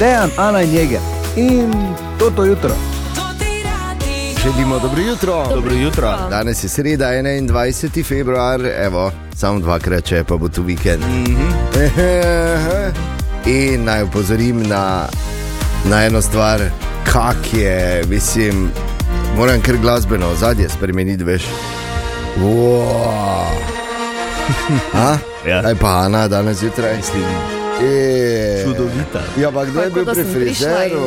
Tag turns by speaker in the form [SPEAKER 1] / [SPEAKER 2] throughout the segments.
[SPEAKER 1] Dejan, Ana in Jeger in toto jutro.
[SPEAKER 2] Želimo dobro jutro.
[SPEAKER 3] Dobro jutro.
[SPEAKER 2] Danes je sreda, 21. februar, evo, samo dvakrat, če pa bo tu vikend.
[SPEAKER 1] Mhm.
[SPEAKER 2] In naj upozorim na, na eno stvar, kak je, mislim, moram kar glasbeno ozadje spremeniti, veš. Wow. A?
[SPEAKER 3] Ja.
[SPEAKER 2] Kaj pa Ana danes zjutraj? E,
[SPEAKER 3] Čudovita.
[SPEAKER 2] Ja, pa kdo
[SPEAKER 4] Pa
[SPEAKER 2] je bil
[SPEAKER 4] kot da
[SPEAKER 2] pri
[SPEAKER 4] sem prišla
[SPEAKER 2] frizeru?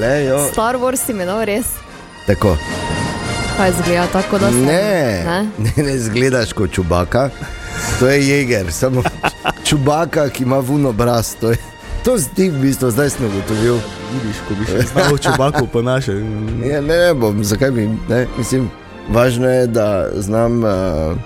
[SPEAKER 2] Lejo.
[SPEAKER 4] Star Wars si mi dal res,
[SPEAKER 2] Tako.
[SPEAKER 4] kaj zgleda tako, da se
[SPEAKER 2] Ne, ne, ne zgledaš kot čubaka, to je jeger, samo čubaka, ki ima vuno obraz. To, je, to si v bistvu zdaj sem ugotovil.
[SPEAKER 3] Vidiš, ko bi še znal čobakov po naše.
[SPEAKER 2] Ja, Ne, ne, ne bom, zakaj bi. Ne, mislim, važno je, da znam. Uh,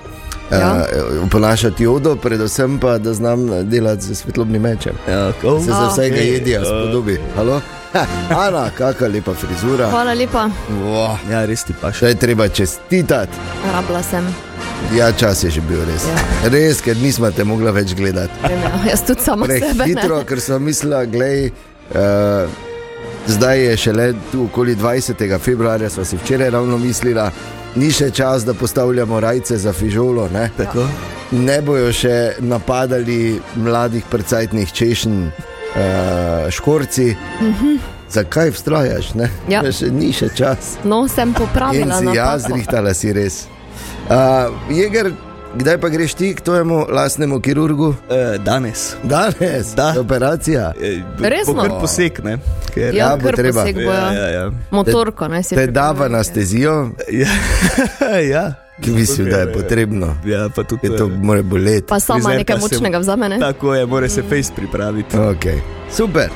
[SPEAKER 4] Ja.
[SPEAKER 2] Uh, uponašati jodo, predvsem pa, da znam delati z svetlobnim mečem.
[SPEAKER 3] Ja, ko?
[SPEAKER 2] Se za
[SPEAKER 4] Ah.
[SPEAKER 2] vsega
[SPEAKER 3] Okej,
[SPEAKER 2] jedijo,
[SPEAKER 3] eh.
[SPEAKER 2] spodobi. Halo? Ha, Ana, kakšna lepa frizura.
[SPEAKER 4] Hvala lepa,
[SPEAKER 2] Wow.
[SPEAKER 3] Ja, res ti paše.
[SPEAKER 2] Še je treba čestitati.
[SPEAKER 4] rabila sem.
[SPEAKER 2] Ja, čas je že bil res. Ja. Res, ker nismo te mogli več gledati.
[SPEAKER 4] Vem, ja. Jaz tudi sama sebe.
[SPEAKER 2] Prehitro,
[SPEAKER 4] ne.
[SPEAKER 2] ker sem mislila, glej, uh, zdaj je šele tu okoli 20. februarja, sva si včeraj ravno mislila, ni še čas, da postavljamo rajce za fižolo. Ne,
[SPEAKER 3] Tako?
[SPEAKER 2] ne bojo še napadali mladih predcajtnih češenj, uh, škorci.
[SPEAKER 4] Mhm.
[SPEAKER 2] Zakaj vztrajaš? ne?
[SPEAKER 4] Ja.
[SPEAKER 2] Še ni še čas.
[SPEAKER 4] No, sem
[SPEAKER 2] In
[SPEAKER 4] popravila
[SPEAKER 2] si
[SPEAKER 4] napako.
[SPEAKER 2] jaz, rihtala ja, si res. Uh, Jeger, kdaj pa greš ti k tvojemu lastnemu kirurgu?
[SPEAKER 3] E, danes.
[SPEAKER 2] Danes,
[SPEAKER 3] Da.
[SPEAKER 2] operacija.
[SPEAKER 3] E,
[SPEAKER 4] Resno?
[SPEAKER 3] Ker posek, ne? Ker,
[SPEAKER 4] no. Ja,
[SPEAKER 2] Ja, bo
[SPEAKER 4] kar
[SPEAKER 2] treba.
[SPEAKER 4] poseg bojo.
[SPEAKER 3] ja, ja. ja.
[SPEAKER 4] Motorko, naj si
[SPEAKER 2] Te da v
[SPEAKER 4] pripravijo.
[SPEAKER 2] anestezijo,
[SPEAKER 3] ja. ja.
[SPEAKER 2] ki mislim, da je potrebno.
[SPEAKER 3] Ja, pa tudi
[SPEAKER 2] Je to
[SPEAKER 3] eh,
[SPEAKER 2] mora boleti.
[SPEAKER 4] Pa sama
[SPEAKER 3] Frizer
[SPEAKER 4] nekaj
[SPEAKER 3] pa se-
[SPEAKER 4] močnega vzame, ne?
[SPEAKER 3] Tako je, mora se face pripraviti.
[SPEAKER 2] Okay. Super.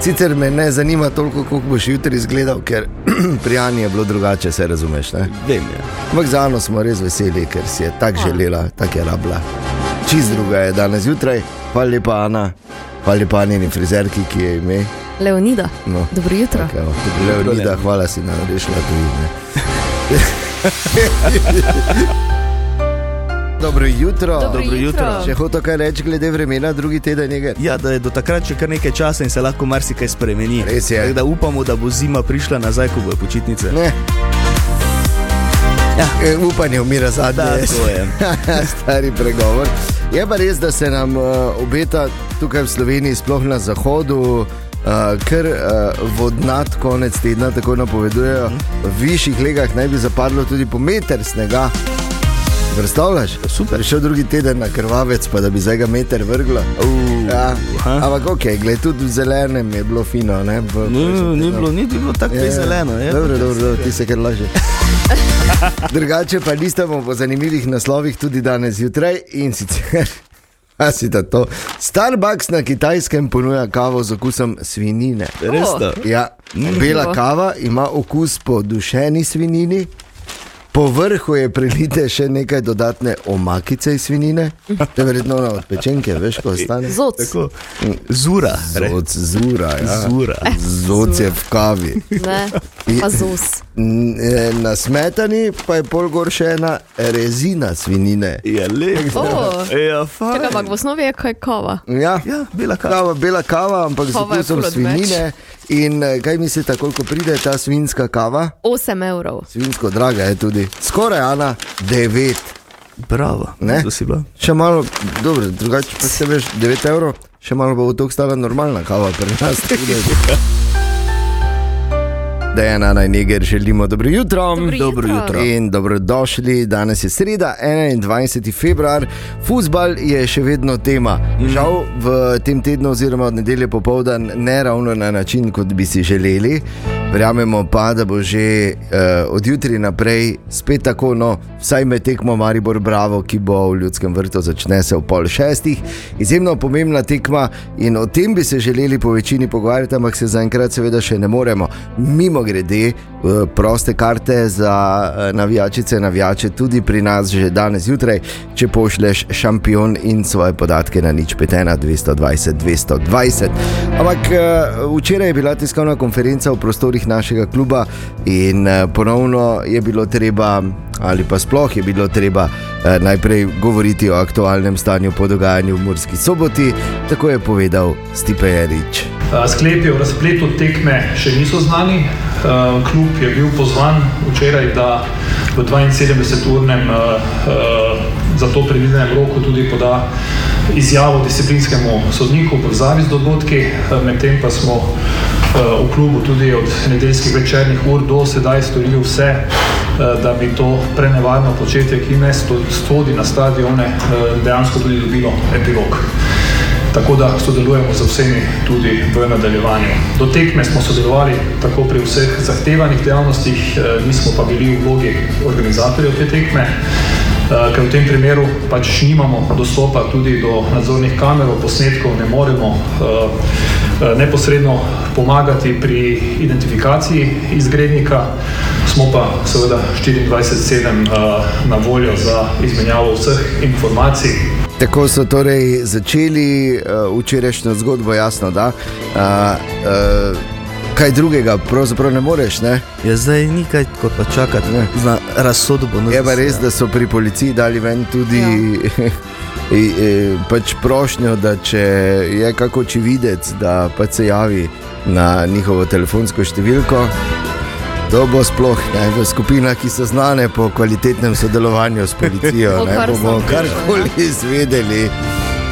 [SPEAKER 2] Sicer me ne zanima toliko, kako boš jutri izgledal, ker pri Ani je bilo drugače, se razumeš. Ne?
[SPEAKER 3] Vem, ja.
[SPEAKER 2] Ampak za Ano smo res veseli, ker si je
[SPEAKER 4] Ja.
[SPEAKER 2] tako želela, tako je rabla. Čist druga je danes zjutraj, hvala lepa Ana, hvala lepa Anini frizerki, ki je ime.
[SPEAKER 4] Leonida,
[SPEAKER 2] No.
[SPEAKER 4] dobro jutro.
[SPEAKER 2] Tako, evo, tudi Leonida, hvala si nam, rešila tudi. Ne. Dobro jutro.
[SPEAKER 4] Dobro jutro.
[SPEAKER 2] Če hoče kaj reči glede vremena, drugi teden je.
[SPEAKER 3] Ja, da je do takrat še kar nekaj časa in se lahko marsikaj spremeni.
[SPEAKER 2] Res je.
[SPEAKER 3] Tako da upamo, da bo zima prišla nazaj, ko bojo počitnice.
[SPEAKER 2] Ne.
[SPEAKER 3] Ja.
[SPEAKER 2] E, Upanje umira zadnje.
[SPEAKER 3] Tako je.
[SPEAKER 2] Stari pregovor. Je pa res, da se nam uh, obeta tukaj v Sloveniji, sploh na zahodu, uh, ker uh, vodnat konec tedna, tako napovedujejo,
[SPEAKER 3] Mhm.
[SPEAKER 2] v višjih legah naj bi zapadlo tudi po meter snega. Predstavljaš? Super. Bi Šel drugi teden na krvavec, pa da bi zdaj ga meter vrglo.
[SPEAKER 3] Uh,
[SPEAKER 2] Ja.
[SPEAKER 3] aha.
[SPEAKER 2] Ampak ok, gled, tudi v zelenem je bilo fino. Ne, v,
[SPEAKER 3] Ni, ni bilo, ni bilo tako
[SPEAKER 2] Ja, ja.
[SPEAKER 3] je, zeleno. Je.
[SPEAKER 2] Dobro, dobro, dobro, ti se kar laže. Drugače pa listamo po zanimivih naslovih tudi danes zjutraj in sicer. A si da to? Starbucks na kitajskem ponuja kavo z okusom svinine.
[SPEAKER 3] Res da.
[SPEAKER 2] Ja, bela kava ima okus po dušeni svinini, po vrhu je prelite še nekaj dodatne omakice iz svinine, to je verjetno ona od pečenke, veš, ko ostane.
[SPEAKER 4] Zoc.
[SPEAKER 3] Tako. Zura. re.
[SPEAKER 2] Zod zura, ja.
[SPEAKER 3] Zura.
[SPEAKER 2] Zod je v kavi.
[SPEAKER 4] Ne, pa zus.
[SPEAKER 2] N- eh, Na smetani pa je pol gor še ena rezina svinine.
[SPEAKER 3] Je lepo.
[SPEAKER 4] O.
[SPEAKER 3] Ja, fajn.
[SPEAKER 4] Čakaj, ampak v osnovi je kaj kava.
[SPEAKER 2] Ja,
[SPEAKER 3] Ja, bela kava.
[SPEAKER 2] kava, bela kava, ampak z
[SPEAKER 4] Kava je
[SPEAKER 2] okusom
[SPEAKER 4] ful odveč.
[SPEAKER 2] svinine. In eh, kaj mislite, koliko pride ta svinska kava?
[SPEAKER 4] 8 evrov.
[SPEAKER 2] Svinsko draga je tudi. Skoraj Ana, devet.
[SPEAKER 3] Bravo.
[SPEAKER 2] Ne?
[SPEAKER 3] To si bila.
[SPEAKER 2] Še malo, dobro, drugače pa se veš, 9 evrov, še malo bo to stala normalna kava pri nas. Da je Ana in Neger, želimo dobro jutro.
[SPEAKER 4] Dobro Dobro jutro. jutro.
[SPEAKER 2] In dobrodošli, danes je sreda, 21. februar. Fusbal je še vedno tema.
[SPEAKER 4] Mhm.
[SPEAKER 2] Žal v tem tednu, oziroma od nedelje popoldan, ne ravno na način, kot bi si želeli. Verjamemo pa, da bo že uh, od jutri naprej spet tako, no, vsaj med tekmo Maribor Bravo, ki bo v ljudskem vrtu začne se ob pol šestih. Izjemno pomembna tekma in o tem bi se želeli po večini pogovarjati, ampak se zaenkrat seveda še ne moremo. Mimo mimo grede, eh, proste karte za eh, navijačice, navijače tudi pri nas že danes zjutraj, če pošleš šampion in svoje podatke na nič petena 220 220. Ampak eh, včeraj je bila tiskovna konferenca v prostorih našega kluba in eh, ponovno je bilo treba, ali pa sploh je bilo treba eh, najprej govoriti o aktualnem stanju po dogajanju v Murski soboti, tako je povedal Stipe Jarič.
[SPEAKER 5] Uh, Sklepi o razpletu tekme še niso znani. Uh, Klub je bil pozvan včeraj, da v 72-urnem uh, uh, za to predvidenem roku tudi poda izjavo disciplinskemu sodniku v povezavi z dogodki, Uh, medtem pa smo uh, v klubu tudi od nedeljskih večernih ur do sedaj storili vse, uh, da bi to prenevarno početje, ki ne sto- sodi na stadione, uh, dejansko tudi dobilo epilog. Tako da sodelujemo z vsemi tudi v nadaljevanju. Do tekme smo sodelovali tako pri vseh zahtevanih dejavnostih, eh, nismo pa bili v vlogi organizatorjev te tekme, eh, ker v tem primeru pač nimamo dostopa tudi do nadzornih kamer, posnetkov ne moremo eh, eh, neposredno pomagati pri identifikaciji izgrednika, smo pa seveda 24-7 eh, na voljo za izmenjavo vseh informacij.
[SPEAKER 2] Tako so torej začeli uh, včerajšnjo zgodbo, jasno da. Uh, uh, kaj drugega, pravzaprav ne moreš. Ne?
[SPEAKER 3] Ja, zdaj ni kaj kot pa čakati
[SPEAKER 2] Ne.
[SPEAKER 3] na razsodbo. no,
[SPEAKER 2] Je pa
[SPEAKER 3] zdaj,
[SPEAKER 2] res, da so pri policiji dali ven tudi ja. pač prošnjo, da če je kako očividec, da pač se javi na njihovo telefonsko številko. To bo sploh ne, v skupinah, ki so znane po kvalitetnem sodelovanju s
[SPEAKER 4] Bo
[SPEAKER 2] policijo. ne,
[SPEAKER 4] kar
[SPEAKER 2] bomo
[SPEAKER 4] sem
[SPEAKER 2] karkoli izvedeli.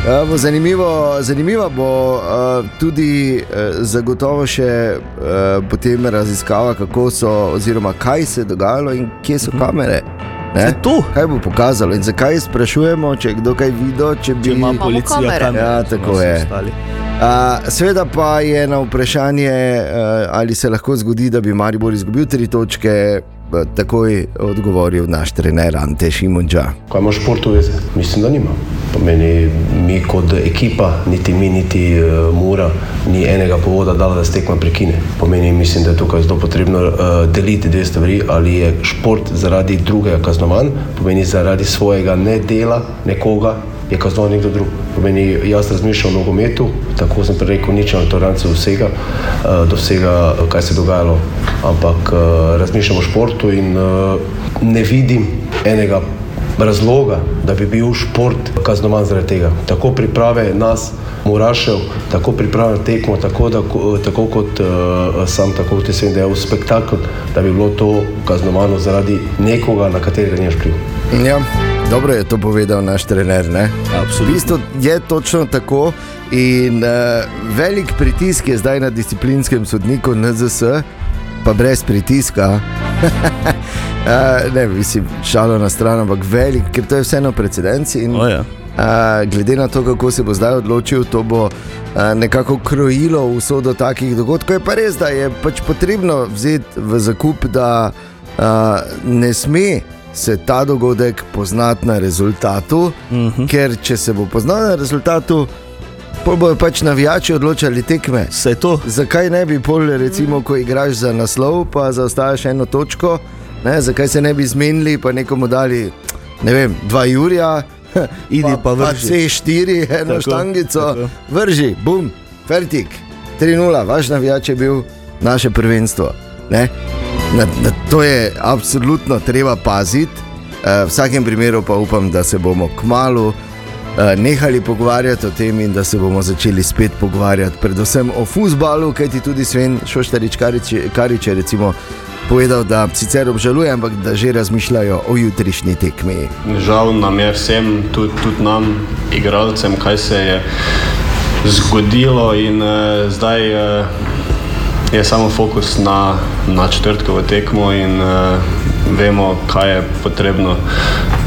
[SPEAKER 2] Ja, bo zanimivo, zanimiva bo uh, tudi uh, zagotovo še uh, potem raziskava, kako so, oziroma kaj se je dogajalo in kje so kamere. Ne?
[SPEAKER 3] Ja, Mhm. to.
[SPEAKER 2] Kaj bo pokazalo in zakaj sprašujemo, če je kdo kaj videl, če bi
[SPEAKER 3] Če ima policija
[SPEAKER 4] kamere.
[SPEAKER 3] kamere.
[SPEAKER 2] Ja,
[SPEAKER 3] so
[SPEAKER 2] tako
[SPEAKER 3] nas
[SPEAKER 2] je.
[SPEAKER 3] ostali.
[SPEAKER 2] Uh, Sveda pa je na vprašanje, uh, ali se lahko zgodi, da bi Maribor izgubil tri točke, uh, takoj odgovoril naš trener Ante Šimunča.
[SPEAKER 6] Kaj ima šport veze? Mislim, da nima. Pomeni, mi kot ekipa, niti mi, niti uh, Mura, ni enega povoda dala, da se tekma prekine. Pomeni, mislim, da je tukaj zelo potrebno uh, deliti dve stvari, ali je šport zaradi drugega kaznovan, pomeni zaradi svojega nedela nekoga. Je kaznovan nekdo drug. Pomeni, jaz razmišljam o nogometu, tako sem prej rekel, nič toleranci do vsega, eh, do vsega, kaj se je dogajalo. Ampak eh, razmišljam o športu in eh, ne vidim enega razloga, da bi bil šport kaznovan zaradi tega. Tako priprave nas, Murašev, tako priprave na tekmo, tako, da, tako kot uh, sam, tako kot sem dejal, spektakel, da bi bilo to kaznovano zaradi nekoga, na katerega nimaš vpliv.
[SPEAKER 2] Ja, dobro je to povedal naš trener. Ne? V
[SPEAKER 3] Absolutno.
[SPEAKER 2] bistvu je točno tako. In uh, velik pritisk je zdaj na disciplinskem sodniku NZS, pa brez pritiska. uh, ne, mislim, šalo na stran, ampak velik, ker to je vseeno precedens. In,
[SPEAKER 3] O, ja.
[SPEAKER 2] Uh, glede na to, kako se bo zdaj odločil, to bo uh, nekako krojilo usodo takih dogodkov. Je pa res, da je pač potrebno vzeti v zakup, da uh, ne sme se ta dogodek poznati na rezultatu, uh
[SPEAKER 3] Mhm.
[SPEAKER 2] -huh. ker če se bo poznal na rezultatu, pol bojo pač navijači odločali tekme.
[SPEAKER 3] Vse to.
[SPEAKER 2] Zakaj ne bi pol, recimo, ko igraš za naslov, pa zaostajaš eno točko, ne, zakaj se ne bi zmenili, pa nekomu dali, ne vem, dva Jurija,
[SPEAKER 3] Idi pa vrži.
[SPEAKER 2] C4, eno
[SPEAKER 3] Tako,
[SPEAKER 2] štangico,
[SPEAKER 3] tako.
[SPEAKER 2] vrži, bum, fertik, 3-0, vaš navijač je bil naše prvenstvo. Ne? Na, na to je absolutno treba paziti, e, v vsakem primeru pa upam, da se bomo kmalo. e, Nehali pogovarjati o tem, in da se bomo začeli spet pogovarjati, predvsem o futbalu, kajti tudi Sven Šoštarič Karič, Karič je recimo povedal, da sicer obžaluje, ampak da že razmišljajo o jutrišnji tekmi.
[SPEAKER 7] Žal nam je vsem, tudi, tudi nam, igralcem, kaj se je zgodilo, in uh, zdaj uh, je samo fokus na, na četrtkovo tekmo, in uh, vemo, kaj je potrebno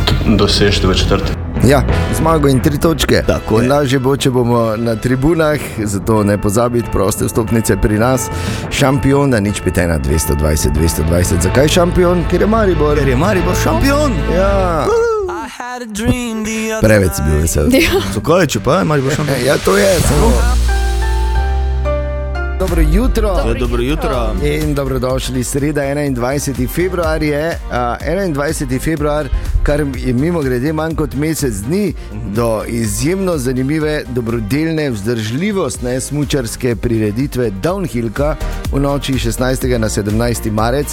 [SPEAKER 7] t- doseči v četrtek.
[SPEAKER 2] Ja, zmago in tri točke.
[SPEAKER 3] Tako je.
[SPEAKER 2] In Lažje bo, če bomo na tribunah, zato ne pozabite, proste vstopnice pri nas. Šampion na nič pite na 220, 220. Zakaj šampion? Ker je Maribor.
[SPEAKER 3] Ker je Maribor šampion.
[SPEAKER 2] Ja, preveč si bil
[SPEAKER 4] Ja.
[SPEAKER 2] vesel.
[SPEAKER 3] Zakaj, če pa je Maribor šampion?
[SPEAKER 2] Ja, to je samo. Dobro jutro.
[SPEAKER 4] Dobro
[SPEAKER 3] Dobro jutro.
[SPEAKER 2] In dobrodošli, sreda 21. februar je uh, 21. februar, kar je mimo grede manj kot mesec dni do izjemno zanimive, dobrodelne, vzdržljivostne smučarske prireditve Downhillka v noči 16. na 17. marec.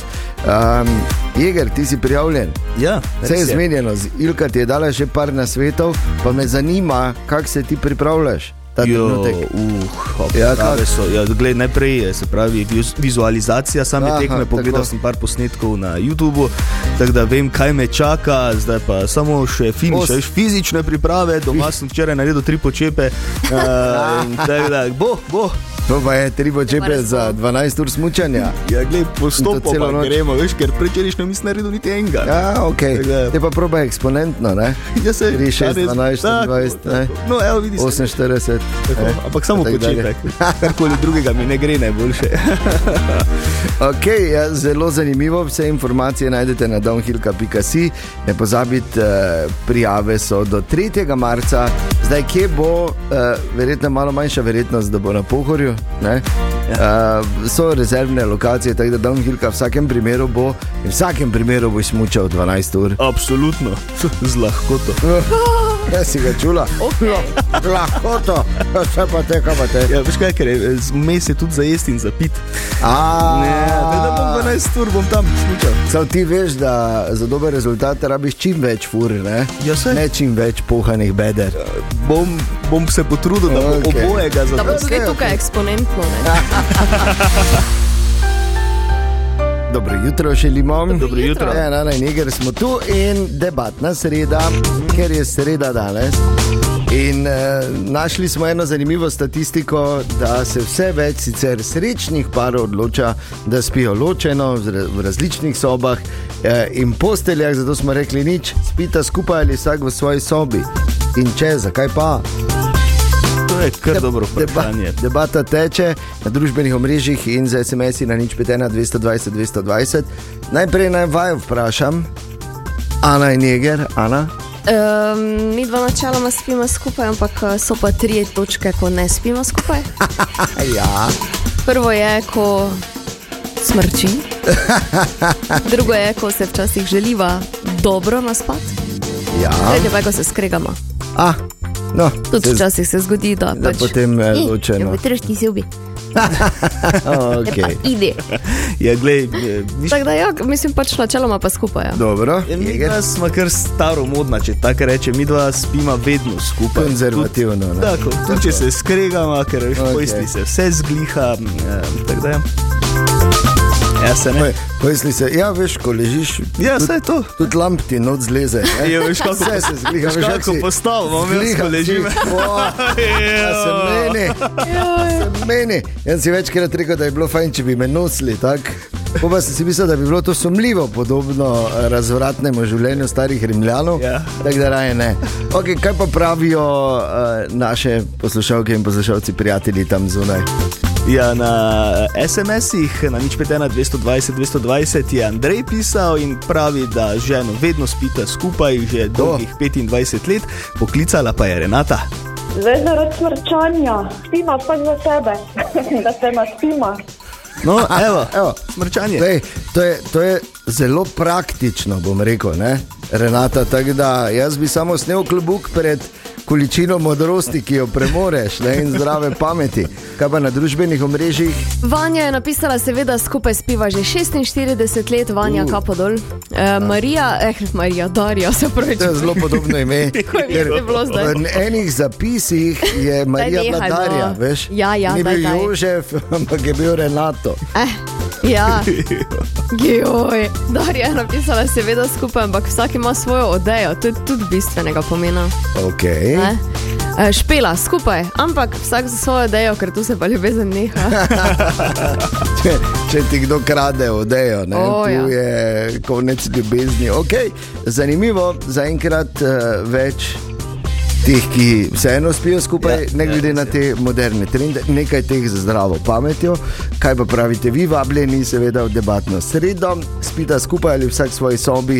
[SPEAKER 2] Um, Jeger, ti si prijavljen.
[SPEAKER 3] Ja,
[SPEAKER 2] Vse je
[SPEAKER 3] res je.
[SPEAKER 2] zmenjeno, Z Ilka ti je dala še par nasvetov, pa me zanima, kako se ti pripravljaš ta
[SPEAKER 3] Jo,
[SPEAKER 2] trenutek.
[SPEAKER 3] uh,
[SPEAKER 2] Ja,
[SPEAKER 3] ja,
[SPEAKER 2] kak?
[SPEAKER 3] so, ja, gled, najprej je se pravi viz- vizualizacija same
[SPEAKER 2] Aha,
[SPEAKER 3] Aha, tekme,
[SPEAKER 2] tako.
[SPEAKER 3] pogledal sem par posnetkov na YouTubu, tako da vem, kaj me čaka, zdaj pa samo še
[SPEAKER 2] Os-
[SPEAKER 3] finiš, veš, fizične priprave, doma sem včeraj naredil tri počepe, uh, tako da bo, bo.
[SPEAKER 2] To pa je tri počepe
[SPEAKER 4] res
[SPEAKER 2] za 12 ur smučanja.
[SPEAKER 3] Ja, gled,
[SPEAKER 2] To celo
[SPEAKER 3] postopoma
[SPEAKER 2] noč.
[SPEAKER 3] gremo, veš, ker prečerišnjo nisem naredil niti enega.
[SPEAKER 2] Ja, ok.
[SPEAKER 3] Tako da-
[SPEAKER 2] Te pa probaj eksponentno, ne?
[SPEAKER 3] Jaz se
[SPEAKER 2] 3, 6,
[SPEAKER 3] danes-
[SPEAKER 2] 12,
[SPEAKER 3] tako,
[SPEAKER 2] 24, ne?
[SPEAKER 3] tako. No, evo, vidiš.
[SPEAKER 2] 48.
[SPEAKER 3] Tako,
[SPEAKER 2] eh,
[SPEAKER 3] ampak samo
[SPEAKER 2] in tako dalje.
[SPEAKER 3] početek. Karkoli drugega mi ne gre najboljše.
[SPEAKER 2] Ok, ja, zelo zanimivo. Vse informacije najdete na downhill.com. Ne pozabite, eh, prijave so do 3. marca. Zdaj, kje bo, eh, verjetno malo manjša verjetnost, da bo na pohorju. ne?
[SPEAKER 3] Ja.
[SPEAKER 2] Eh, So rezervne lokacije, tako da downhillka v vsakem primeru bo, in v vsakem primeru boš mučal 12 ur.
[SPEAKER 3] Absolutno, z lahkoto.
[SPEAKER 2] Ja, si ga čula. Lahko to, še pa te, kaj pa te.
[SPEAKER 3] Ja, veš kaj, ker je zmes je tudi za jesti in za pit.
[SPEAKER 2] A,
[SPEAKER 3] Ne, da bom 12 ur, bom tam smučal.
[SPEAKER 2] Sam ti veš, da za dober rezultat rabiš čim več fur, ne?
[SPEAKER 3] Ja, saj.
[SPEAKER 2] ne čim več pohanih beder.
[SPEAKER 3] Bom, bom se potrudil, da bom
[SPEAKER 2] Okej.
[SPEAKER 3] okay. obojega
[SPEAKER 4] Da bo
[SPEAKER 3] zadal.
[SPEAKER 4] tudi tukaj eksponentno.
[SPEAKER 2] Ja.
[SPEAKER 4] Ne?
[SPEAKER 2] Dobro jutro, še imam.
[SPEAKER 3] Dobro jutro.
[SPEAKER 2] Ja, na neger smo tu in debatna sreda, ker je sreda danes. In eh, našli smo eno zanimivo statistiko, da se vse več sicer srečnih parov odloča, da spijo ločeno v ra- v različnih sobah eh, in posteljah, zato smo rekli nič, spita skupaj ali vsak v svoji sobi. In če, zakaj pa?
[SPEAKER 3] To je kar dobro vprašanje.
[SPEAKER 2] Deba, debata teče na družbenih omrežjih in z SMS-i na nič 51, 220, 220. Najprej naj vaju vprašam, Ana in Jeger, Ana.
[SPEAKER 4] Um, mi dva načeloma spimo skupaj, ampak eh, so pa tri točke, ko ne spimo skupaj.
[SPEAKER 2] Ja,
[SPEAKER 4] Prvo je, ko smrči, drugo je, ko se včasih želiva dobro naspati,
[SPEAKER 2] ja.
[SPEAKER 4] tretje pa je, ko se skregamo.
[SPEAKER 2] Ah, no,
[SPEAKER 4] Tudi
[SPEAKER 2] se-
[SPEAKER 4] včasih se zgodi, da,
[SPEAKER 2] da
[SPEAKER 4] pač,
[SPEAKER 2] potem eh, ločeno.
[SPEAKER 4] Potreški si ubi,
[SPEAKER 2] Okay.
[SPEAKER 4] ide.
[SPEAKER 3] Ja, glej, eh, nič.
[SPEAKER 4] Tako da, ja, mislim pač načeloma pa skupaj. Ja.
[SPEAKER 2] Dobro,
[SPEAKER 3] Ja, Mi
[SPEAKER 2] Jeger.
[SPEAKER 3] dva smo kar staromodna, če tako rečem, mi dva spima vedno skupaj.
[SPEAKER 2] Konzervativno, no.
[SPEAKER 3] Tudi,
[SPEAKER 2] ne?
[SPEAKER 3] tako, tudi če se skregamo, ker veš,
[SPEAKER 2] Okej.
[SPEAKER 3] okay. pojsti se vse zgliha. eh, Tako da ja. Ja, se ne.
[SPEAKER 2] Pojasni se, ja, veš, ko ležiš.
[SPEAKER 3] Ja,
[SPEAKER 2] tudi-
[SPEAKER 3] saj to.
[SPEAKER 2] Tudi lamp ti noč zleze. ne?
[SPEAKER 3] Ja, veš, kako-
[SPEAKER 2] Vse se zgliha,
[SPEAKER 3] veš,
[SPEAKER 2] veš,
[SPEAKER 3] kako postavo imam jaz, ko ležim.
[SPEAKER 2] Ja, se meni, se meni. Jaz si večkrat rekel, da je bilo fajn, če bi me nosili. tak. Po pa sem si mislil, da bi bilo to sumljivo, podobno eh, razvratnemu življenju starih Rimljanov.
[SPEAKER 3] Ja.
[SPEAKER 2] Tako da raje ne. Okay, kaj pa pravijo uh, naše poslušalke in poslušalci, prijatelji tam zunaj?
[SPEAKER 3] Ja, na eh, SMS-ih, na nič petena 220, 220 je Andrej pisal in pravi, da z ženo vedno spita skupaj že
[SPEAKER 2] Oh.
[SPEAKER 3] dolgih 25 let, poklicala pa je Renata.
[SPEAKER 8] Zdaj zaradi smrčanja, spima pa za sebe, da se ima spima.
[SPEAKER 3] No, evo,
[SPEAKER 2] Evo,
[SPEAKER 3] smrčanje.
[SPEAKER 2] Dej, to, je, to je zelo praktično, bom rekel, ne? Renata. Tako da jaz bi samo snel klobuk pred količino modrosti, ki jo premoreš ne? in zdrave pameti. Kaj pa na družbenih omrežjih?
[SPEAKER 4] Vanja je napisala, seveda skupaj spiva že 46 let, Vanja uh. Kapodol. E, Marija, eh, Marija, Darja, se pravi.
[SPEAKER 2] To je zelo podobno ime.
[SPEAKER 4] Kako je
[SPEAKER 2] ker
[SPEAKER 4] bilo zdaj?
[SPEAKER 2] v enih zapisih je Marija
[SPEAKER 4] nehaj, no.
[SPEAKER 2] Vladarja, veš?
[SPEAKER 4] Ja, ja,
[SPEAKER 2] Ni
[SPEAKER 4] daj,
[SPEAKER 2] bil
[SPEAKER 4] daj.
[SPEAKER 2] Jožef, ampak je bil Renato.
[SPEAKER 4] Eh, ja, joj. Darja je napisala, seveda skupaj, ampak vsak ima svojo odejo, to je tudi bistvenega pomena.
[SPEAKER 2] Okay.
[SPEAKER 4] Ne? E, Špela skupaj, ampak vsak za svojo odejo, ker tu se pa ljubezen neha.
[SPEAKER 2] Če, če ti kdo krade, odejo, ne,
[SPEAKER 4] O,
[SPEAKER 2] oh, tu
[SPEAKER 4] ja.
[SPEAKER 2] je konec ljubezni. Okay, zanimivo, zaenkrat uh, več. Tih, ki vseeno spijo skupaj, ja, ne glede ja, na te moderne trende, nekaj teh z zdravo pametjo. Kaj pa pravite, vi, vabljeni, seveda v debatno sredo, spita skupaj ali vsak v svoji sobi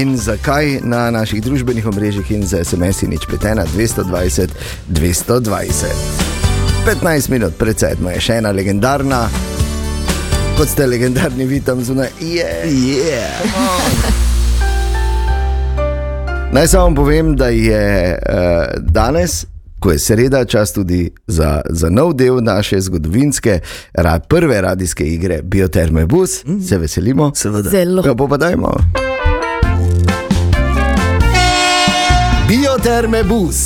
[SPEAKER 2] in zakaj na naših družbenih omrežjih in za SMS-i nič petena 220 220. 15 minut pred sedmo je še ena legendarna, kot ste legendarni, vi tam zunaj. Yeah.
[SPEAKER 3] Yeah.
[SPEAKER 2] Naj samo povem, da je uh, danes. Ko je sreda, čas tudi za, za nov del naše zgodovinske, ra, prve radijske igre Bioterme Bus, mm. se veselimo.
[SPEAKER 3] Seveda.
[SPEAKER 4] Zelo.
[SPEAKER 2] Ja, pa dajmo. Bioterme Bus,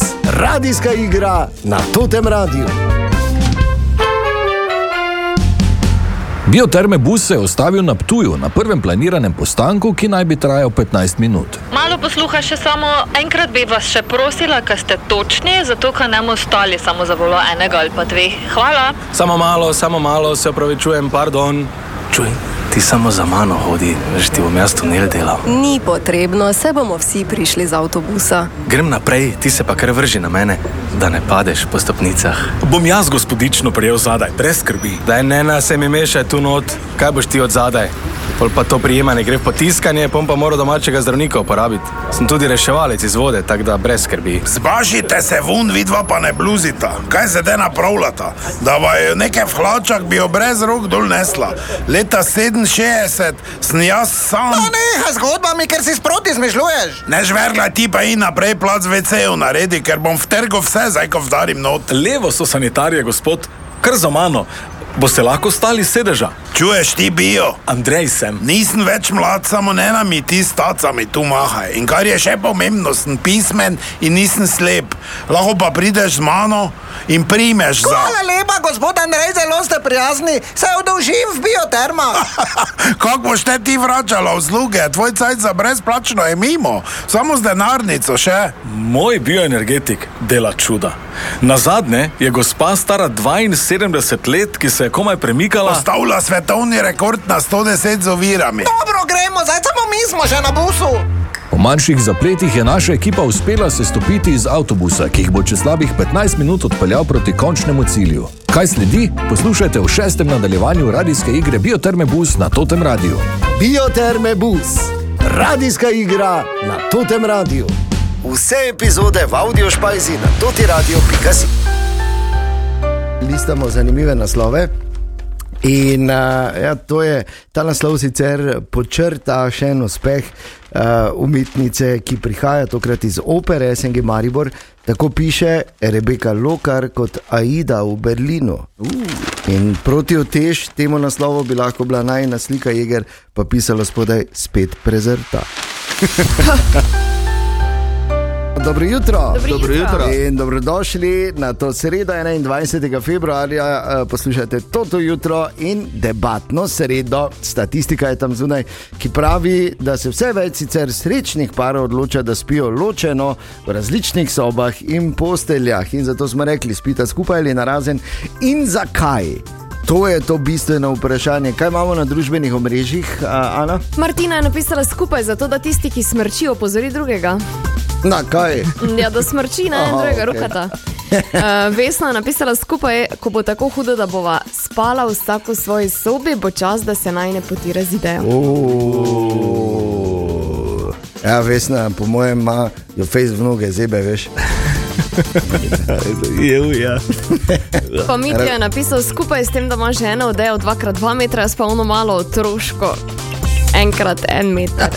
[SPEAKER 2] radijska igra na totem radiju.
[SPEAKER 9] Bioterme bus se je ustavil na Ptuju, na prvem planiranem postanku, ki naj bi trajal 15 minut.
[SPEAKER 10] Malo posluha, še samo enkrat bi vas še prosila, ker ste točni, zato ker ne bomo stali samo za volo enega ali pa dveh. Hvala.
[SPEAKER 11] Samo malo, samo malo, se opravičujem, pardon. Čuj, ti samo za mano hodi, veš, ti bom jaz tunel delal.
[SPEAKER 12] Ni potrebno, se bomo vsi prišli z avtobusa.
[SPEAKER 11] Grem naprej, ti se pa kar vrži na mene, da ne padeš po stopnicah. Bom jaz gospodično prijel zadaj, brez skrbi. Da ne nas se mi mešaj tu not, kaj boš ti od zadaj. Pol pa to prijemanje gre v potiskanje, pom pa mora domačega zdravnika uporabiti. Sem tudi reševalec iz vode, tako da brez skrbi.
[SPEAKER 13] Zbažite se vun, vidva pa ne bluzita. Kaj se zdaj napravljata? Da vaju nekaj v hlačah bi jo brez rok dol nesla. Leta 67 sem jaz sam. No,
[SPEAKER 14] Nehaj zgodbami, ker si sproti zmišljuješ.
[SPEAKER 13] Ne žvergla ti pa in naprej plac VC-ju naredi, ker bom vtrgal vse, zdaj ko vdarim not.
[SPEAKER 11] Levo so sanitarije, gospod, kar za mano. Boste lahko stali sedeža?
[SPEAKER 13] Čuješ ti bio?
[SPEAKER 11] Andrej sem.
[SPEAKER 13] Nisem več mlad, samo ne nami ti s tacami tu mahaj. In kar je še pomembno, sem pismen in nisem slep. Lahko pa prideš z mano in primeš za.
[SPEAKER 14] Hvala lepa, gospod Andrej, zelo ste prijazni. Se odolžim v biotermah.
[SPEAKER 13] Kako boš te ti vračala usluge? Tvoj cajt za brezplačno je mimo, samo z denarnico še.
[SPEAKER 11] Moj bioenergetik dela čuda. Na zadnje je gospa stara 72 let, ki se je komaj premikala.
[SPEAKER 13] Postavlja svetovni rekord na 110 z ovirami.
[SPEAKER 14] Dobro, gremo, zdaj samo mi smo že na busu.
[SPEAKER 9] Po manjših zapletih je naša ekipa uspela se stopiti iz avtobusa, ki jih bo čez slabih 15 minut odpeljal proti končnemu cilju. Kaj sledi? Poslušajte v šestem nadaljevanju radijske igre Bioterme bus na totem radiju.
[SPEAKER 2] Bioterme Bus, radijska igra na Totem Radiu. Vse epizode v audio špajzi na totiradio.si. Listamo zanimive naslove. In uh, ja, to je ta naslov sicer počrta še en uspeh uh, umetnice, ki prihaja tokrat iz opere SNG Maribor. Tako piše Rebeka Lokar kot Aida v Berlinu. In protiutež temu naslovu bi lahko bila najna slika Jeger, pa pisalo spodaj spet prezrta. Dobro jutro.
[SPEAKER 4] Dobro Dobro jutro. jutro.
[SPEAKER 2] In dobrodošli na to sredo 21. februarja. eh, Poslušajte to jutro in debatno sredo. Statistika je tam zunaj, ki pravi, da se vse več sicer srečnih parov odloča, da spijo ločeno v različnih sobah in posteljah. In zato smo rekli, spita skupaj ali narazen in zakaj. To je to bistveno vprašanje. Kaj imamo na družbenih omrežjih, a, Ana?
[SPEAKER 4] Martina je napisala skupaj, zato da tisti, ki smrči, opozori drugega.
[SPEAKER 2] Na kaj?
[SPEAKER 4] Ja, da smrči, ne
[SPEAKER 2] Aha,
[SPEAKER 4] en drugega,
[SPEAKER 2] okej.
[SPEAKER 4] rokata. Uh, Vesna je napisala skupaj, ko bo tako hudo, da bova spala vsak v svoji sobi, bo čas, da se naj ne poti razidejo.
[SPEAKER 2] Uuu. Ja, vesna, po mojem, ima jo fejs v noge, zebe, veš.
[SPEAKER 3] Jev, ja.
[SPEAKER 4] Pa Mitja je napisal skupaj s tem, da ima že eno odejo 2x2 metra, jaz pa ono malo otroško. Enkrat en meter.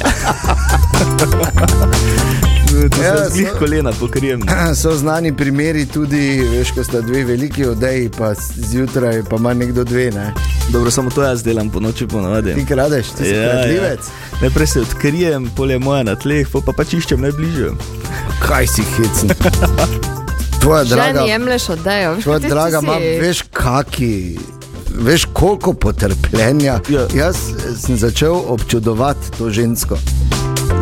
[SPEAKER 3] Ja,
[SPEAKER 2] Ja,
[SPEAKER 3] Zlih
[SPEAKER 2] so-
[SPEAKER 3] kolena pokrijem.
[SPEAKER 2] So znani primeri tudi, veš, ko sta dve veliki odeji, pa zjutraj pa ima nekdo dve, ne?
[SPEAKER 3] Dobro, samo to jaz delam po noči ponavadi. Ja,
[SPEAKER 2] Ti kradeš, ti si kradljivec.
[SPEAKER 3] Najprej se odkrijem, polje moja na tleh, pol pa pač iščem najbližje.
[SPEAKER 2] Kaj si hecen? Tvoja draga,
[SPEAKER 4] Ženi jemliš odejo. veš,
[SPEAKER 2] tvoja
[SPEAKER 4] tisti
[SPEAKER 2] draga
[SPEAKER 4] si-
[SPEAKER 2] ima, veš, kaki. Veš, koliko potrpljenja.
[SPEAKER 3] Ja.
[SPEAKER 2] Jaz eh, sem začel občudovati to žensko.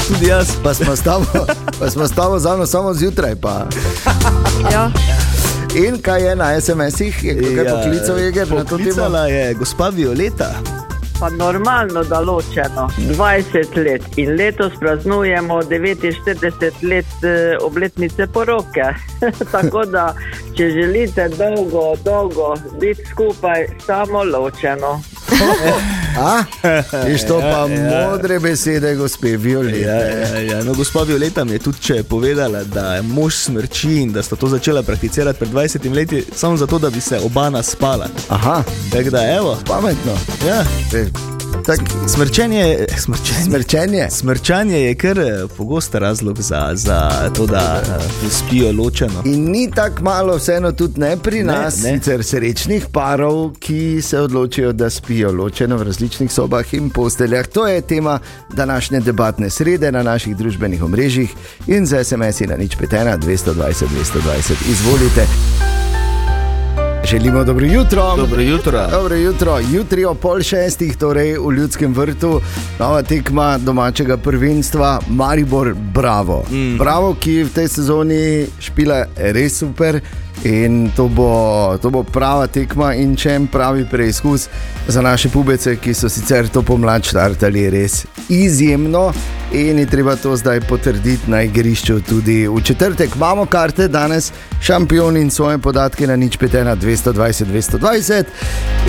[SPEAKER 3] Tudi jaz.
[SPEAKER 2] Pa smo s tabo, pa smo s tabo za mano samo zjutraj. Pa.
[SPEAKER 4] Ja.
[SPEAKER 2] In kaj je na SMS-ih, je kaj ja, poklical je Jeger na to temo?
[SPEAKER 3] Poklicala je gospa Violeta.
[SPEAKER 15] Pa normalno, da ločeno. 20 let in letos praznujemo 49 let eh, obletnice poroke. Tako da, če želite dolgo, dolgo biti skupaj, samo ločeno.
[SPEAKER 2] A? Viš to pa modre besede, gospe Violeta.
[SPEAKER 3] Ja, ja, ja. No, gospa Violeta mi je tudi če povedala, da je mož smrči in da sta to začela prakticirati pred 20 leti, samo zato, da bi se oba naspala.
[SPEAKER 2] Aha.
[SPEAKER 3] Tako da, evo.
[SPEAKER 2] Pametno. E,
[SPEAKER 3] Ja.
[SPEAKER 2] Tak,
[SPEAKER 3] smrčenje, smrčenje,
[SPEAKER 2] smrčenje.
[SPEAKER 3] smrčanje je kar eh, pogost razlog za, za to, da eh, spijo ločeno.
[SPEAKER 2] In ni tako malo, vseeno tudi ne pri nas, ne, ne. sicer srečnih parov, ki se odločijo, da spijo ločeno v različnih sobah in posteljah. To je tema današnje debatne srede na naših družbenih omrežjih in za SMS-i na nič petena 220 220. Izvolite. Želimo dobro jutro.
[SPEAKER 3] Dobro jutro.
[SPEAKER 2] Dobro jutro. Jutri ob pol šestih, torej v Ljudskem vrtu, nova tekma domačega prvenstva Maribor Bravo. Mm. Bravo, ki v tej sezoni špila res super. In to bo, to bo prava tekma in če en pravi preizkus za naše pubece, ki so sicer to pomlad štartali res izjemno in je treba to zdaj potrditi na igrišču tudi v četrtek. Imamo karte danes, šampion in svoje podatke na nič petena 220 220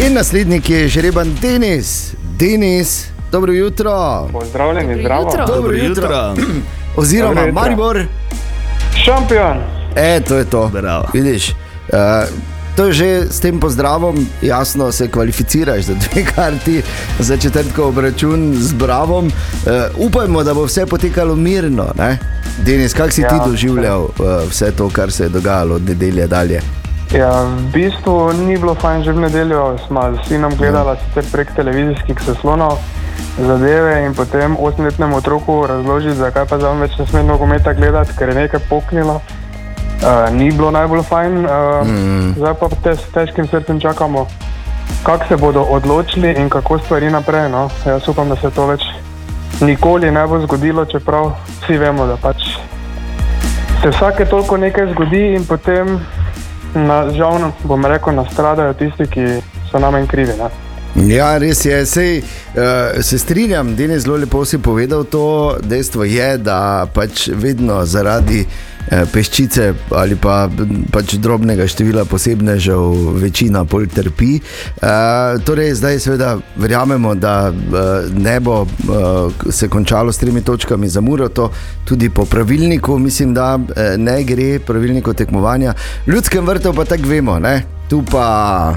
[SPEAKER 2] in naslednji je žreban Denis. Denis, dobro jutro.
[SPEAKER 16] Pozdravljeni, zdravo.
[SPEAKER 2] Dobro, dobro jutro. jutro. Oziroma,
[SPEAKER 16] Dobro jutro.
[SPEAKER 2] Maribor.
[SPEAKER 16] Šampion.
[SPEAKER 2] E, to je to. Bravo. Vidiš, uh, to je že s tem pozdravom, jasno se kvalificiraš za dve karti, za četrtkov obračun z Bravom. Uh, upajmo, da bo vse potekalo mirno. Ne? Denis, kako si ja, ti
[SPEAKER 16] Ja,
[SPEAKER 2] doživljal uh, vse to, kar se je dogajalo od nedelje dalje?
[SPEAKER 16] Ja, v bistvu ni bilo fajn, že v nedeljo smo s sinom gledali
[SPEAKER 2] Ja.
[SPEAKER 16] sicer prek televizijskih zaslonov zadeve in potem osemletnemu otroku razložiti, zakaj pa zdaj več ne sme nogometa gledati, ker je nekaj poknilo. Uh, ni bilo najbolj fajn, uh, mm. zdaj pa te, s težkim srcem čakamo, kako se bodo odločili in kako stvari naprej. No? Jaz upam, da se to več nikoli ne bo zgodilo, čeprav vsi vemo, da pač se vsake toliko nekaj zgodi in potem Na, žal, bom rekel, nastradajo tisti, ki so nam krivi. Ne?
[SPEAKER 2] Ja, res je. Sej, uh, se strinjam, Denis zelo lepo si povedal to. Dejstvo je, da pač vedno zaradi eh, peščice ali pa m, pač drobnega števila posebnežev večina bolj trpi. Uh, torej, zdaj seveda verjamemo, da uh, ne bo uh, se končalo s tremi točkami za Muro, to tudi po pravilniku, mislim, da eh, ne gre pravilniku tekmovanja. V ljudskem vrtu pa tako vemo, ne? tu pa.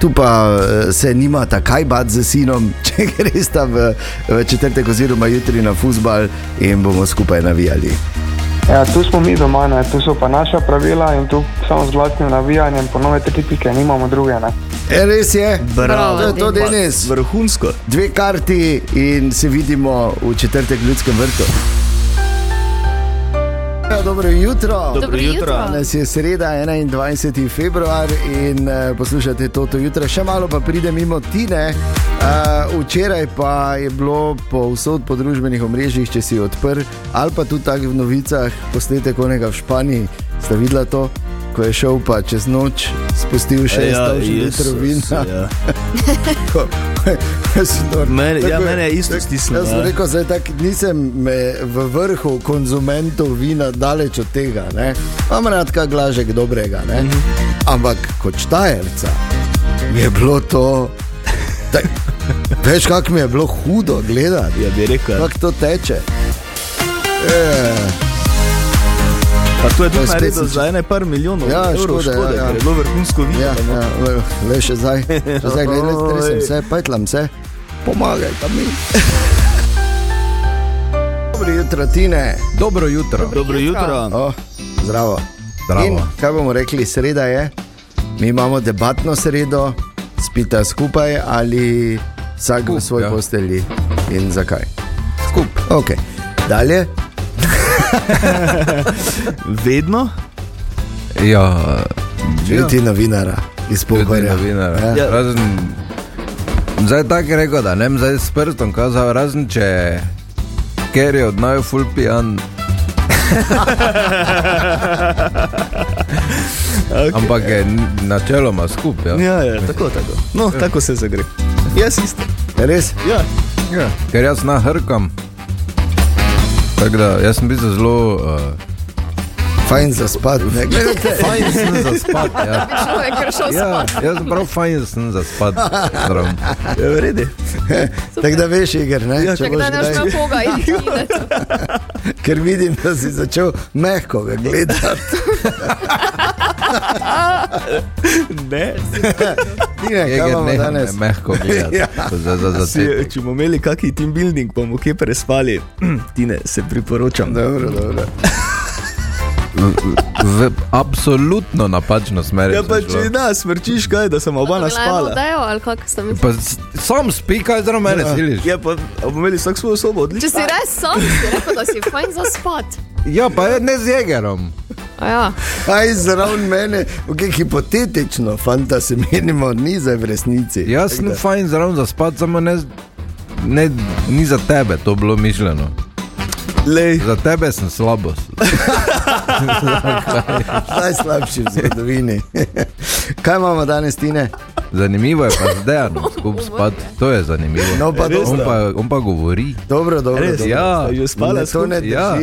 [SPEAKER 2] Tu pa eh, se nima takaj bat z sinom, če greš tam v, v četrtek oziroma jutri na futbal in bomo skupaj navijali.
[SPEAKER 16] Ja, tu smo mi doma, ne? tu so pa naša pravila in tu samo z glasnim navijanjem, ponovno tri pike, nimamo druge. Ne?
[SPEAKER 2] E, res je,
[SPEAKER 16] Bravo,
[SPEAKER 2] to je to
[SPEAKER 16] Denis.
[SPEAKER 2] danes.
[SPEAKER 3] Vrhunsko.
[SPEAKER 2] Dve karti in se vidimo v četrtek v ljudskem vrtu. Ja, Dobro jutro.
[SPEAKER 1] Dobro jutro. jutro.
[SPEAKER 2] Danes je sreda, 21. februar in uh, poslušate to, to jutro, še malo pa pride mimo Tine. Uh, včeraj pa je bilo povsod po družbenih omrežjih, če si odprl, ali pa tudi tako v novicah, posnetek onega v Španiji, sta videla to, ko je šel pa čez noč, spustil še
[SPEAKER 3] Ja,
[SPEAKER 2] 100
[SPEAKER 3] Jezus,
[SPEAKER 2] litrov vina.
[SPEAKER 3] ja.
[SPEAKER 2] Ko-
[SPEAKER 3] Mene- ja,
[SPEAKER 2] Tako
[SPEAKER 3] mene je isto
[SPEAKER 2] tako-
[SPEAKER 3] stisnilo,
[SPEAKER 2] Jaz sem
[SPEAKER 3] ja.
[SPEAKER 2] rekel, zdaj tak, nisem me v vrhu konzumentov vina, daleč od tega. ne. Imam rad kak glažek dobrega, ne?
[SPEAKER 3] Mhm.
[SPEAKER 2] ampak kot štajerca je bilo to. Tak, veš, kako mi je bilo hudo gledati,
[SPEAKER 3] ja, bi rekel.
[SPEAKER 2] kako to teče. E,
[SPEAKER 3] Pa to je
[SPEAKER 2] To je
[SPEAKER 3] tudi
[SPEAKER 2] spet
[SPEAKER 3] naredil
[SPEAKER 2] sem-
[SPEAKER 3] za ene par milijonov
[SPEAKER 2] Ja,
[SPEAKER 3] evrov
[SPEAKER 2] škoda,
[SPEAKER 3] škode,
[SPEAKER 2] ja, ja.
[SPEAKER 3] ker je bilo vrhunsko vino.
[SPEAKER 2] ja,
[SPEAKER 3] no.
[SPEAKER 2] ja, le še zdaj, še zdaj gledaj, stresem se, pajtlam se, pomagaj tam mi. Dobro jutro, Tine.
[SPEAKER 1] Dobro jutro.
[SPEAKER 3] Dobro jutro.
[SPEAKER 2] Oh, zdravo.
[SPEAKER 1] Zdravo.
[SPEAKER 2] In kaj bomo rekli, sreda je, mi imamo debatno sredo, spita skupaj ali vsak v svoj ja. postelji in zakaj. Skup. Okay. Dalje.
[SPEAKER 3] Vedno?
[SPEAKER 2] Ja, Niti novinara, iz Pohorja.
[SPEAKER 1] Novinar.
[SPEAKER 2] Ja.
[SPEAKER 1] Ja. Razen, zdaj tako je rekel, da ne bi zdaj s prstom kazal, razen če ker je od naju full pijan. okay. Ampak je n- načeloma skupaj. Ja.
[SPEAKER 3] Ja, ja, tako, tako. No, tako se zagre. Jaz isto.
[SPEAKER 2] Res?
[SPEAKER 3] Ja.
[SPEAKER 1] Ja. Ker jaz nahrkam. Tako da, jaz sem bil zelo uh,
[SPEAKER 2] Fajn za spad. Ne gledajte.
[SPEAKER 1] eh, Fajn sem za spad. Ja.
[SPEAKER 4] bi človek kar šel
[SPEAKER 1] Ja,
[SPEAKER 4] spat.
[SPEAKER 1] jaz sem prav fajn sem za spad.
[SPEAKER 2] Je Ja, v redu. Tako da veš, Igor, ne? Ja,
[SPEAKER 4] Tako da ne boš imel koga, idi gledat.
[SPEAKER 2] Ker vidim, da si začel mehko ga gledati.
[SPEAKER 3] Ne.
[SPEAKER 2] Tine,
[SPEAKER 1] Je
[SPEAKER 2] kaj
[SPEAKER 1] ga
[SPEAKER 2] imamo
[SPEAKER 1] ne,
[SPEAKER 2] danes?
[SPEAKER 1] ne, mehko gledati.
[SPEAKER 3] Ja.
[SPEAKER 1] Za, za, za
[SPEAKER 3] Si,
[SPEAKER 1] začetek.
[SPEAKER 3] če bomo imeli kakšen team building, bomo kje prespali. Tine, se priporočam.
[SPEAKER 2] Dobro, dobro.
[SPEAKER 1] V, v absolutno napačno smer.
[SPEAKER 3] Ja, pa
[SPEAKER 1] sem šla.
[SPEAKER 3] če nas smrčiš, kaj, da sem oba
[SPEAKER 4] Gledajmo,
[SPEAKER 3] naspala.
[SPEAKER 4] dajo, ali kako sem
[SPEAKER 1] Pa s- sam spi, kaj zdaj mene siliš.
[SPEAKER 3] Ja, pa bomo imeli vsak svojo sobo,
[SPEAKER 4] Če si
[SPEAKER 3] odlično.
[SPEAKER 4] res sam, si rekel, da si fajn za spat.
[SPEAKER 1] Ja, pa je ne z jegerom.
[SPEAKER 4] Ja.
[SPEAKER 2] Aj, zraven mene, okay, hipotetično, fanta se menimo, ni za v resnici.
[SPEAKER 1] Jaz
[SPEAKER 2] Tako da-
[SPEAKER 1] sem fajn zraven za spat, samo ne, z- ne, ni za tebe to bilo mišljeno.
[SPEAKER 3] Lej.
[SPEAKER 1] Za tebe sem slabost.
[SPEAKER 2] Najslabši v zgodovini. Kaj imamo danes, Tine?
[SPEAKER 1] Zanimivo je pa zdaj, no, skupaj spat, to je zanimivo.
[SPEAKER 3] Ja,
[SPEAKER 2] No, pa
[SPEAKER 1] on,
[SPEAKER 2] dobro.
[SPEAKER 1] pa, on pa govori.
[SPEAKER 2] Dobro, dobro.
[SPEAKER 1] Res?
[SPEAKER 2] dobro.
[SPEAKER 1] Ja.
[SPEAKER 3] Sta že spala
[SPEAKER 2] Ne,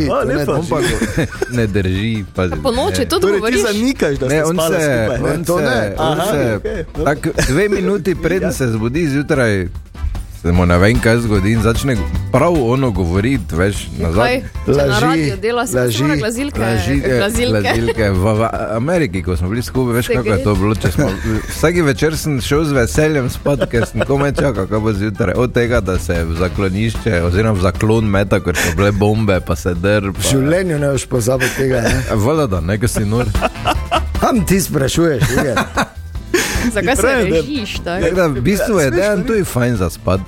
[SPEAKER 2] to
[SPEAKER 1] Ja.
[SPEAKER 3] skupaj? A,
[SPEAKER 2] ne drži. to ne
[SPEAKER 3] lepa.
[SPEAKER 1] On pa
[SPEAKER 2] drži.
[SPEAKER 1] go, ne drži. Pazi,
[SPEAKER 4] Po noči
[SPEAKER 1] ne.
[SPEAKER 3] Torej,
[SPEAKER 4] tudi
[SPEAKER 3] ti
[SPEAKER 4] govoriš.
[SPEAKER 3] zanikaš, da
[SPEAKER 1] Ne,
[SPEAKER 3] ste
[SPEAKER 1] on
[SPEAKER 3] spala
[SPEAKER 1] se,
[SPEAKER 3] skupaj.
[SPEAKER 1] on
[SPEAKER 2] to
[SPEAKER 1] se,
[SPEAKER 2] ne.
[SPEAKER 1] on
[SPEAKER 3] Aha,
[SPEAKER 1] se
[SPEAKER 3] okej, dobro. Ja.
[SPEAKER 1] tak, dve minuti preden se zbudi zjutraj, se mu ne vem kaj zgodi in začne prav ono govoriti, veš, nazaj.
[SPEAKER 4] Kaj, če na
[SPEAKER 2] Laži,
[SPEAKER 4] radiju dela, si
[SPEAKER 2] laži,
[SPEAKER 4] mora glazilke.
[SPEAKER 1] Lažilke, lažilke. V, v Ameriki, ko smo bili skupaj, veš,
[SPEAKER 4] Se
[SPEAKER 1] kako je
[SPEAKER 4] gre.
[SPEAKER 1] to bilo. če Smo, vsaki večer sem šel z veseljem spat, ker sem komaj čakal, kako bo zjutraj. Od tega, da se v zaklonišče, oziroma v zaklon meta, ker so bile bombe, pa se drb.
[SPEAKER 2] V življenju ne boš pozabil tega. Ne?
[SPEAKER 1] Voda, da nekaj si nor.
[SPEAKER 2] Kam ti sprašuješ? Igor?
[SPEAKER 4] Zakaj se
[SPEAKER 3] Pravim, da-
[SPEAKER 4] režiš? tako?
[SPEAKER 1] Tako da, v bistvu je dejan tudi fajn za spat.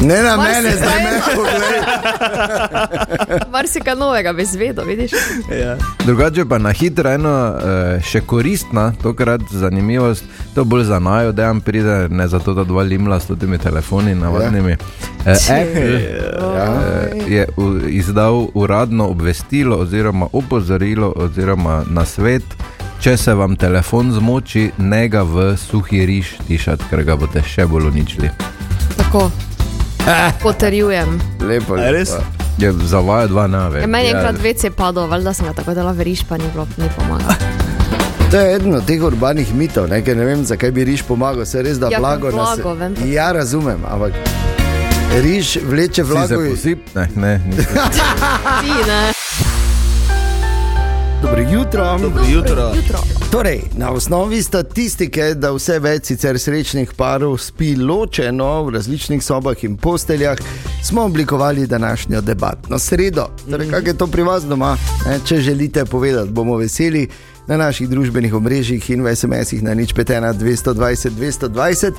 [SPEAKER 2] Ne na
[SPEAKER 4] Mar si
[SPEAKER 2] mene, zdaj
[SPEAKER 4] zdaj-
[SPEAKER 2] me poglej.
[SPEAKER 4] Marsikaj novega bi zvedel, vidiš?
[SPEAKER 3] Ja.
[SPEAKER 1] Drugače pa na hitro eno eh, še koristna, tokrat zanimivost, to bolj za najo, da jim pride, ne zato, da dva limla s temi telefoni, navadnimi. Ja. Apple
[SPEAKER 2] Ja.
[SPEAKER 1] eh, je u, izdal uradno obvestilo oziroma opozorilo oziroma nasvet. Če se vam telefon zmoči, ne ga v suhi riž tišati, ker ga boste še bolj uničili.
[SPEAKER 4] Tako.
[SPEAKER 2] Eh.
[SPEAKER 4] Potrjujem.
[SPEAKER 2] Lepo,
[SPEAKER 3] A res?
[SPEAKER 2] lepo.
[SPEAKER 1] Je zavaja dva nave.
[SPEAKER 4] Ja, meni je enkrat vec je padel, valjda sem ga tako dala v riž, pa ni bilo, ni pomagalo.
[SPEAKER 2] To je eden od teh urbanih mitov, ne, ker ne vem, zakaj bi riž pomagal. Se res da
[SPEAKER 4] Ja,
[SPEAKER 2] blago
[SPEAKER 4] blago, vem.
[SPEAKER 2] nas. Ja, razumem, ampak riž vleče
[SPEAKER 1] Si se
[SPEAKER 2] vlago. iz-
[SPEAKER 1] posip? Ne, ne, nisem.
[SPEAKER 4] Ti ne.
[SPEAKER 2] Dobro jutro.
[SPEAKER 3] Dobro jutro.
[SPEAKER 4] Jutro.
[SPEAKER 2] Torej, na osnovi statistike, da vse več sicer srečnih parov spi ločeno v različnih sobah in posteljah, smo oblikovali današnjo debatno sredo. Torej, kako je to pri vas doma? Ne, Če želite povedati, bomo veseli na naših družbenih omrežjih in v SMS-ih na nič petena 220 220.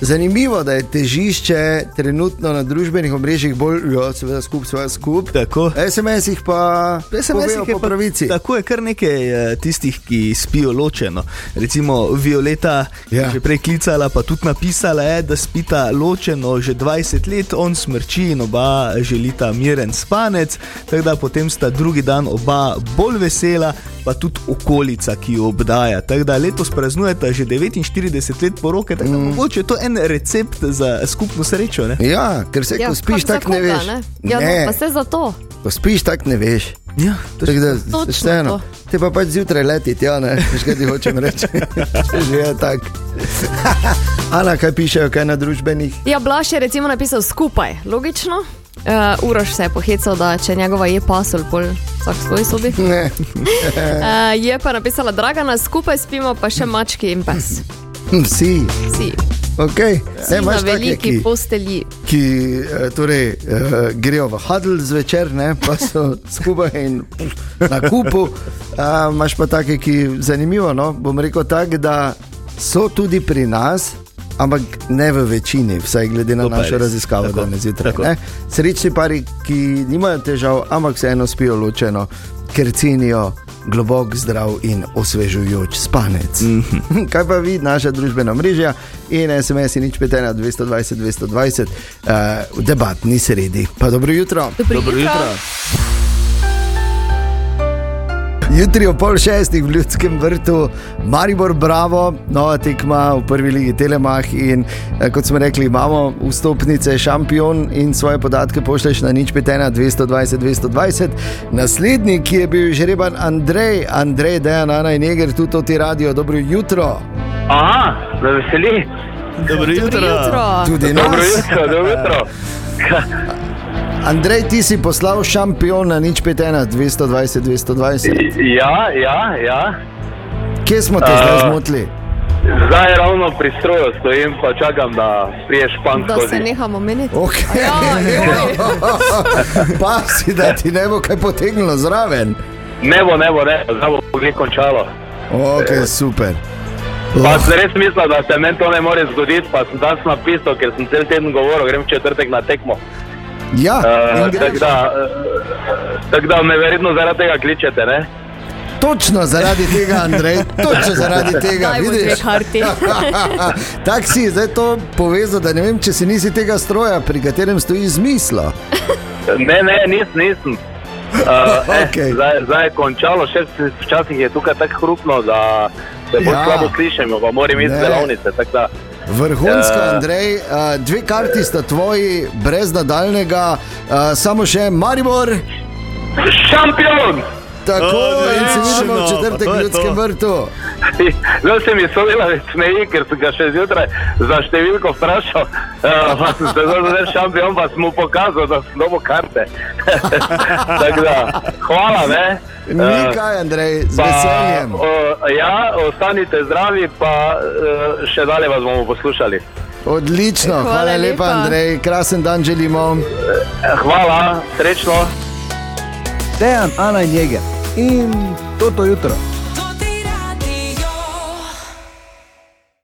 [SPEAKER 2] Zanimivo, da je težišče trenutno na družbenih omrežjih bolj, jo, seveda, skup, seveda, skup.
[SPEAKER 3] Tako.
[SPEAKER 2] SMS-ih pa,
[SPEAKER 3] SMS-ih
[SPEAKER 2] povejo po pravici.
[SPEAKER 3] Tako je kar nekaj eh, tistih, ki spijo ločeno. Recimo Violeta
[SPEAKER 2] Ja.
[SPEAKER 3] ja. je že prej klicala, pa tudi napisala, je, da spita ločeno že 20 let, on smrči in oba želita miren spanec. Tako da potem sta drugi dan oba bolj vesela, pa tudi okolica, ki jo obdaja. Tako da letos praznujeta že 49 let poroke, tako da mm. mogoče je to en recept za skupno srečo. Ne?
[SPEAKER 2] Ja, ker se ja, ko
[SPEAKER 4] kako
[SPEAKER 2] spiš,
[SPEAKER 4] za
[SPEAKER 2] tako ne
[SPEAKER 4] koga,
[SPEAKER 2] veš.
[SPEAKER 4] Ne? Ja,
[SPEAKER 2] Ne,
[SPEAKER 4] no, pa se zato.
[SPEAKER 2] ko spiš, tako ne veš.
[SPEAKER 3] Ja,
[SPEAKER 2] Tako da,
[SPEAKER 4] Točno
[SPEAKER 2] vseeno, te pa pač zjutraj leti, ja, ne veš, kaj ti hočem reči. Že je tako. Ana, kaj pišejo, kaj na družbenih?
[SPEAKER 4] Ja, Blaž je recimo napisal skupaj, logično. Uh, Uroš se je pohecal, da če njegova je pasel, pol vsak v svoji sobi.
[SPEAKER 2] Ne.
[SPEAKER 4] Uh, je pa napisala, draga nas skupaj spimo, pa še mački in pes.
[SPEAKER 2] Hm, Vsi,
[SPEAKER 4] Vsi,
[SPEAKER 2] okay.
[SPEAKER 4] vsi
[SPEAKER 2] ne,
[SPEAKER 4] na
[SPEAKER 2] imaš take,
[SPEAKER 4] veliki
[SPEAKER 2] ki,
[SPEAKER 4] postelji.
[SPEAKER 2] ki eh, torej, uh, grejo v Hadl zvečer, ne, pa so skupaj in na kupu. Uh, imaš pa take, ki zanimivo, no, bom rekel tako, da so tudi pri nas. Ampak ne v večini, vsaj glede na
[SPEAKER 3] To pa je
[SPEAKER 2] našo
[SPEAKER 3] res.
[SPEAKER 2] raziskavo
[SPEAKER 3] Tako,
[SPEAKER 2] danes zjutraj.
[SPEAKER 3] tako.
[SPEAKER 2] ne. Srečni pari, ki nimajo težav, ampak vseeno spijo ločeno, ker cenijo globok, zdrav in osvežujoč spanec. Mm
[SPEAKER 3] Mhm.
[SPEAKER 2] -hmm. Kaj pa vi, naša družbena mreža in SMS je nič petena 220, 220, uh, debatni sredi. Pa dobro jutro.
[SPEAKER 4] Dobro jutro.
[SPEAKER 2] Jutri ob pol šestih v Ljudskem vrtu, Maribor Bravo, nova tekma v prvi ligi Telemah. In eh, kot smo rekli, imamo vstopnice šampion in svoje podatke pošleš na nič petena 220 220. Naslednji, ki je bil žreban Andrej, Andrej Dejan, Ana in Eger, tudi to ti radio, dobro jutro.
[SPEAKER 17] Aha, me veseli.
[SPEAKER 3] Dobro jutro.
[SPEAKER 2] jutro. Tudi nas.
[SPEAKER 17] Dobro jutro, dobro jutro.
[SPEAKER 2] Andrej, ti si poslal šampion na nič petena 220 220.
[SPEAKER 17] Ja, ja, ja.
[SPEAKER 2] Kje smo te
[SPEAKER 17] A,
[SPEAKER 2] zdaj zmotili?
[SPEAKER 17] Zdaj ravno pri stroju stojim, pa čakam, da priješ pan
[SPEAKER 4] Da se
[SPEAKER 17] skozi.
[SPEAKER 4] nehamo meniti. ja?
[SPEAKER 2] Okay. Pasi, da ti ne bo kaj potegnilo zraven.
[SPEAKER 17] Ne bo, ne bo, ne bo, zdaj bo pogled končalo.
[SPEAKER 2] Ok, super.
[SPEAKER 17] Pa sem res mislil, da se meni to ne more zgoditi, pa sem danes napisal, ker sem cel teden govoril, grem v četrtek na tekmo.
[SPEAKER 2] Ja,
[SPEAKER 17] Eh,
[SPEAKER 2] in greš.
[SPEAKER 17] tako da, eh, tako da me verjetno zaradi tega kličete, ne?
[SPEAKER 2] Točno zaradi tega, Andrej, točno zaradi tega.
[SPEAKER 17] Daj mu dve
[SPEAKER 2] vidiš?
[SPEAKER 17] karti.
[SPEAKER 2] Tako si zdaj to povezal, da ne vem, če si nisi tega stroja, pri katerem stoji zmisla.
[SPEAKER 17] Ne, ne, nis, nisem. Uh, okay. eh, zdaj, zdaj je končalo, še s- včasih je tukaj tako hrupno, da se bolj
[SPEAKER 2] Ja.
[SPEAKER 17] ja. slabo slišimo, pa moram iti
[SPEAKER 2] Ne.
[SPEAKER 17] z delavnice. tako da,
[SPEAKER 2] Vrhunsko,
[SPEAKER 17] eh,
[SPEAKER 2] Andrej, eh, dve karti sta tvoji, brez nadaljnega, eh, samo še Maribor.
[SPEAKER 17] Šampion!
[SPEAKER 2] Tako in se vidimo
[SPEAKER 17] Odlično,
[SPEAKER 2] v četrtek
[SPEAKER 17] pa to
[SPEAKER 2] v
[SPEAKER 17] je
[SPEAKER 2] Ljudskem
[SPEAKER 17] to.
[SPEAKER 2] vrtu.
[SPEAKER 17] Zdaj se mi sodelavec smeji, ker sem ga še zjutraj za številko vprašal, uh, pa sem se zdaj zdaj šampion, pa sem mu pokazal, da sem dobil karte. Tako da, hvala, ne? Eh,
[SPEAKER 2] Ni kaj, Andrej, z veseljem.
[SPEAKER 17] Pa, o, ja, ostanite zdravi, pa eh, še dalje vas bomo poslušali.
[SPEAKER 2] Odlično, hvala,
[SPEAKER 17] Hvala
[SPEAKER 2] hvala lepa,
[SPEAKER 17] lepa.
[SPEAKER 2] Andrej, krasen dan želimo.
[SPEAKER 17] Eh, Hvala, srečno.
[SPEAKER 18] Dejan, Ana in Jeger in toto jutro.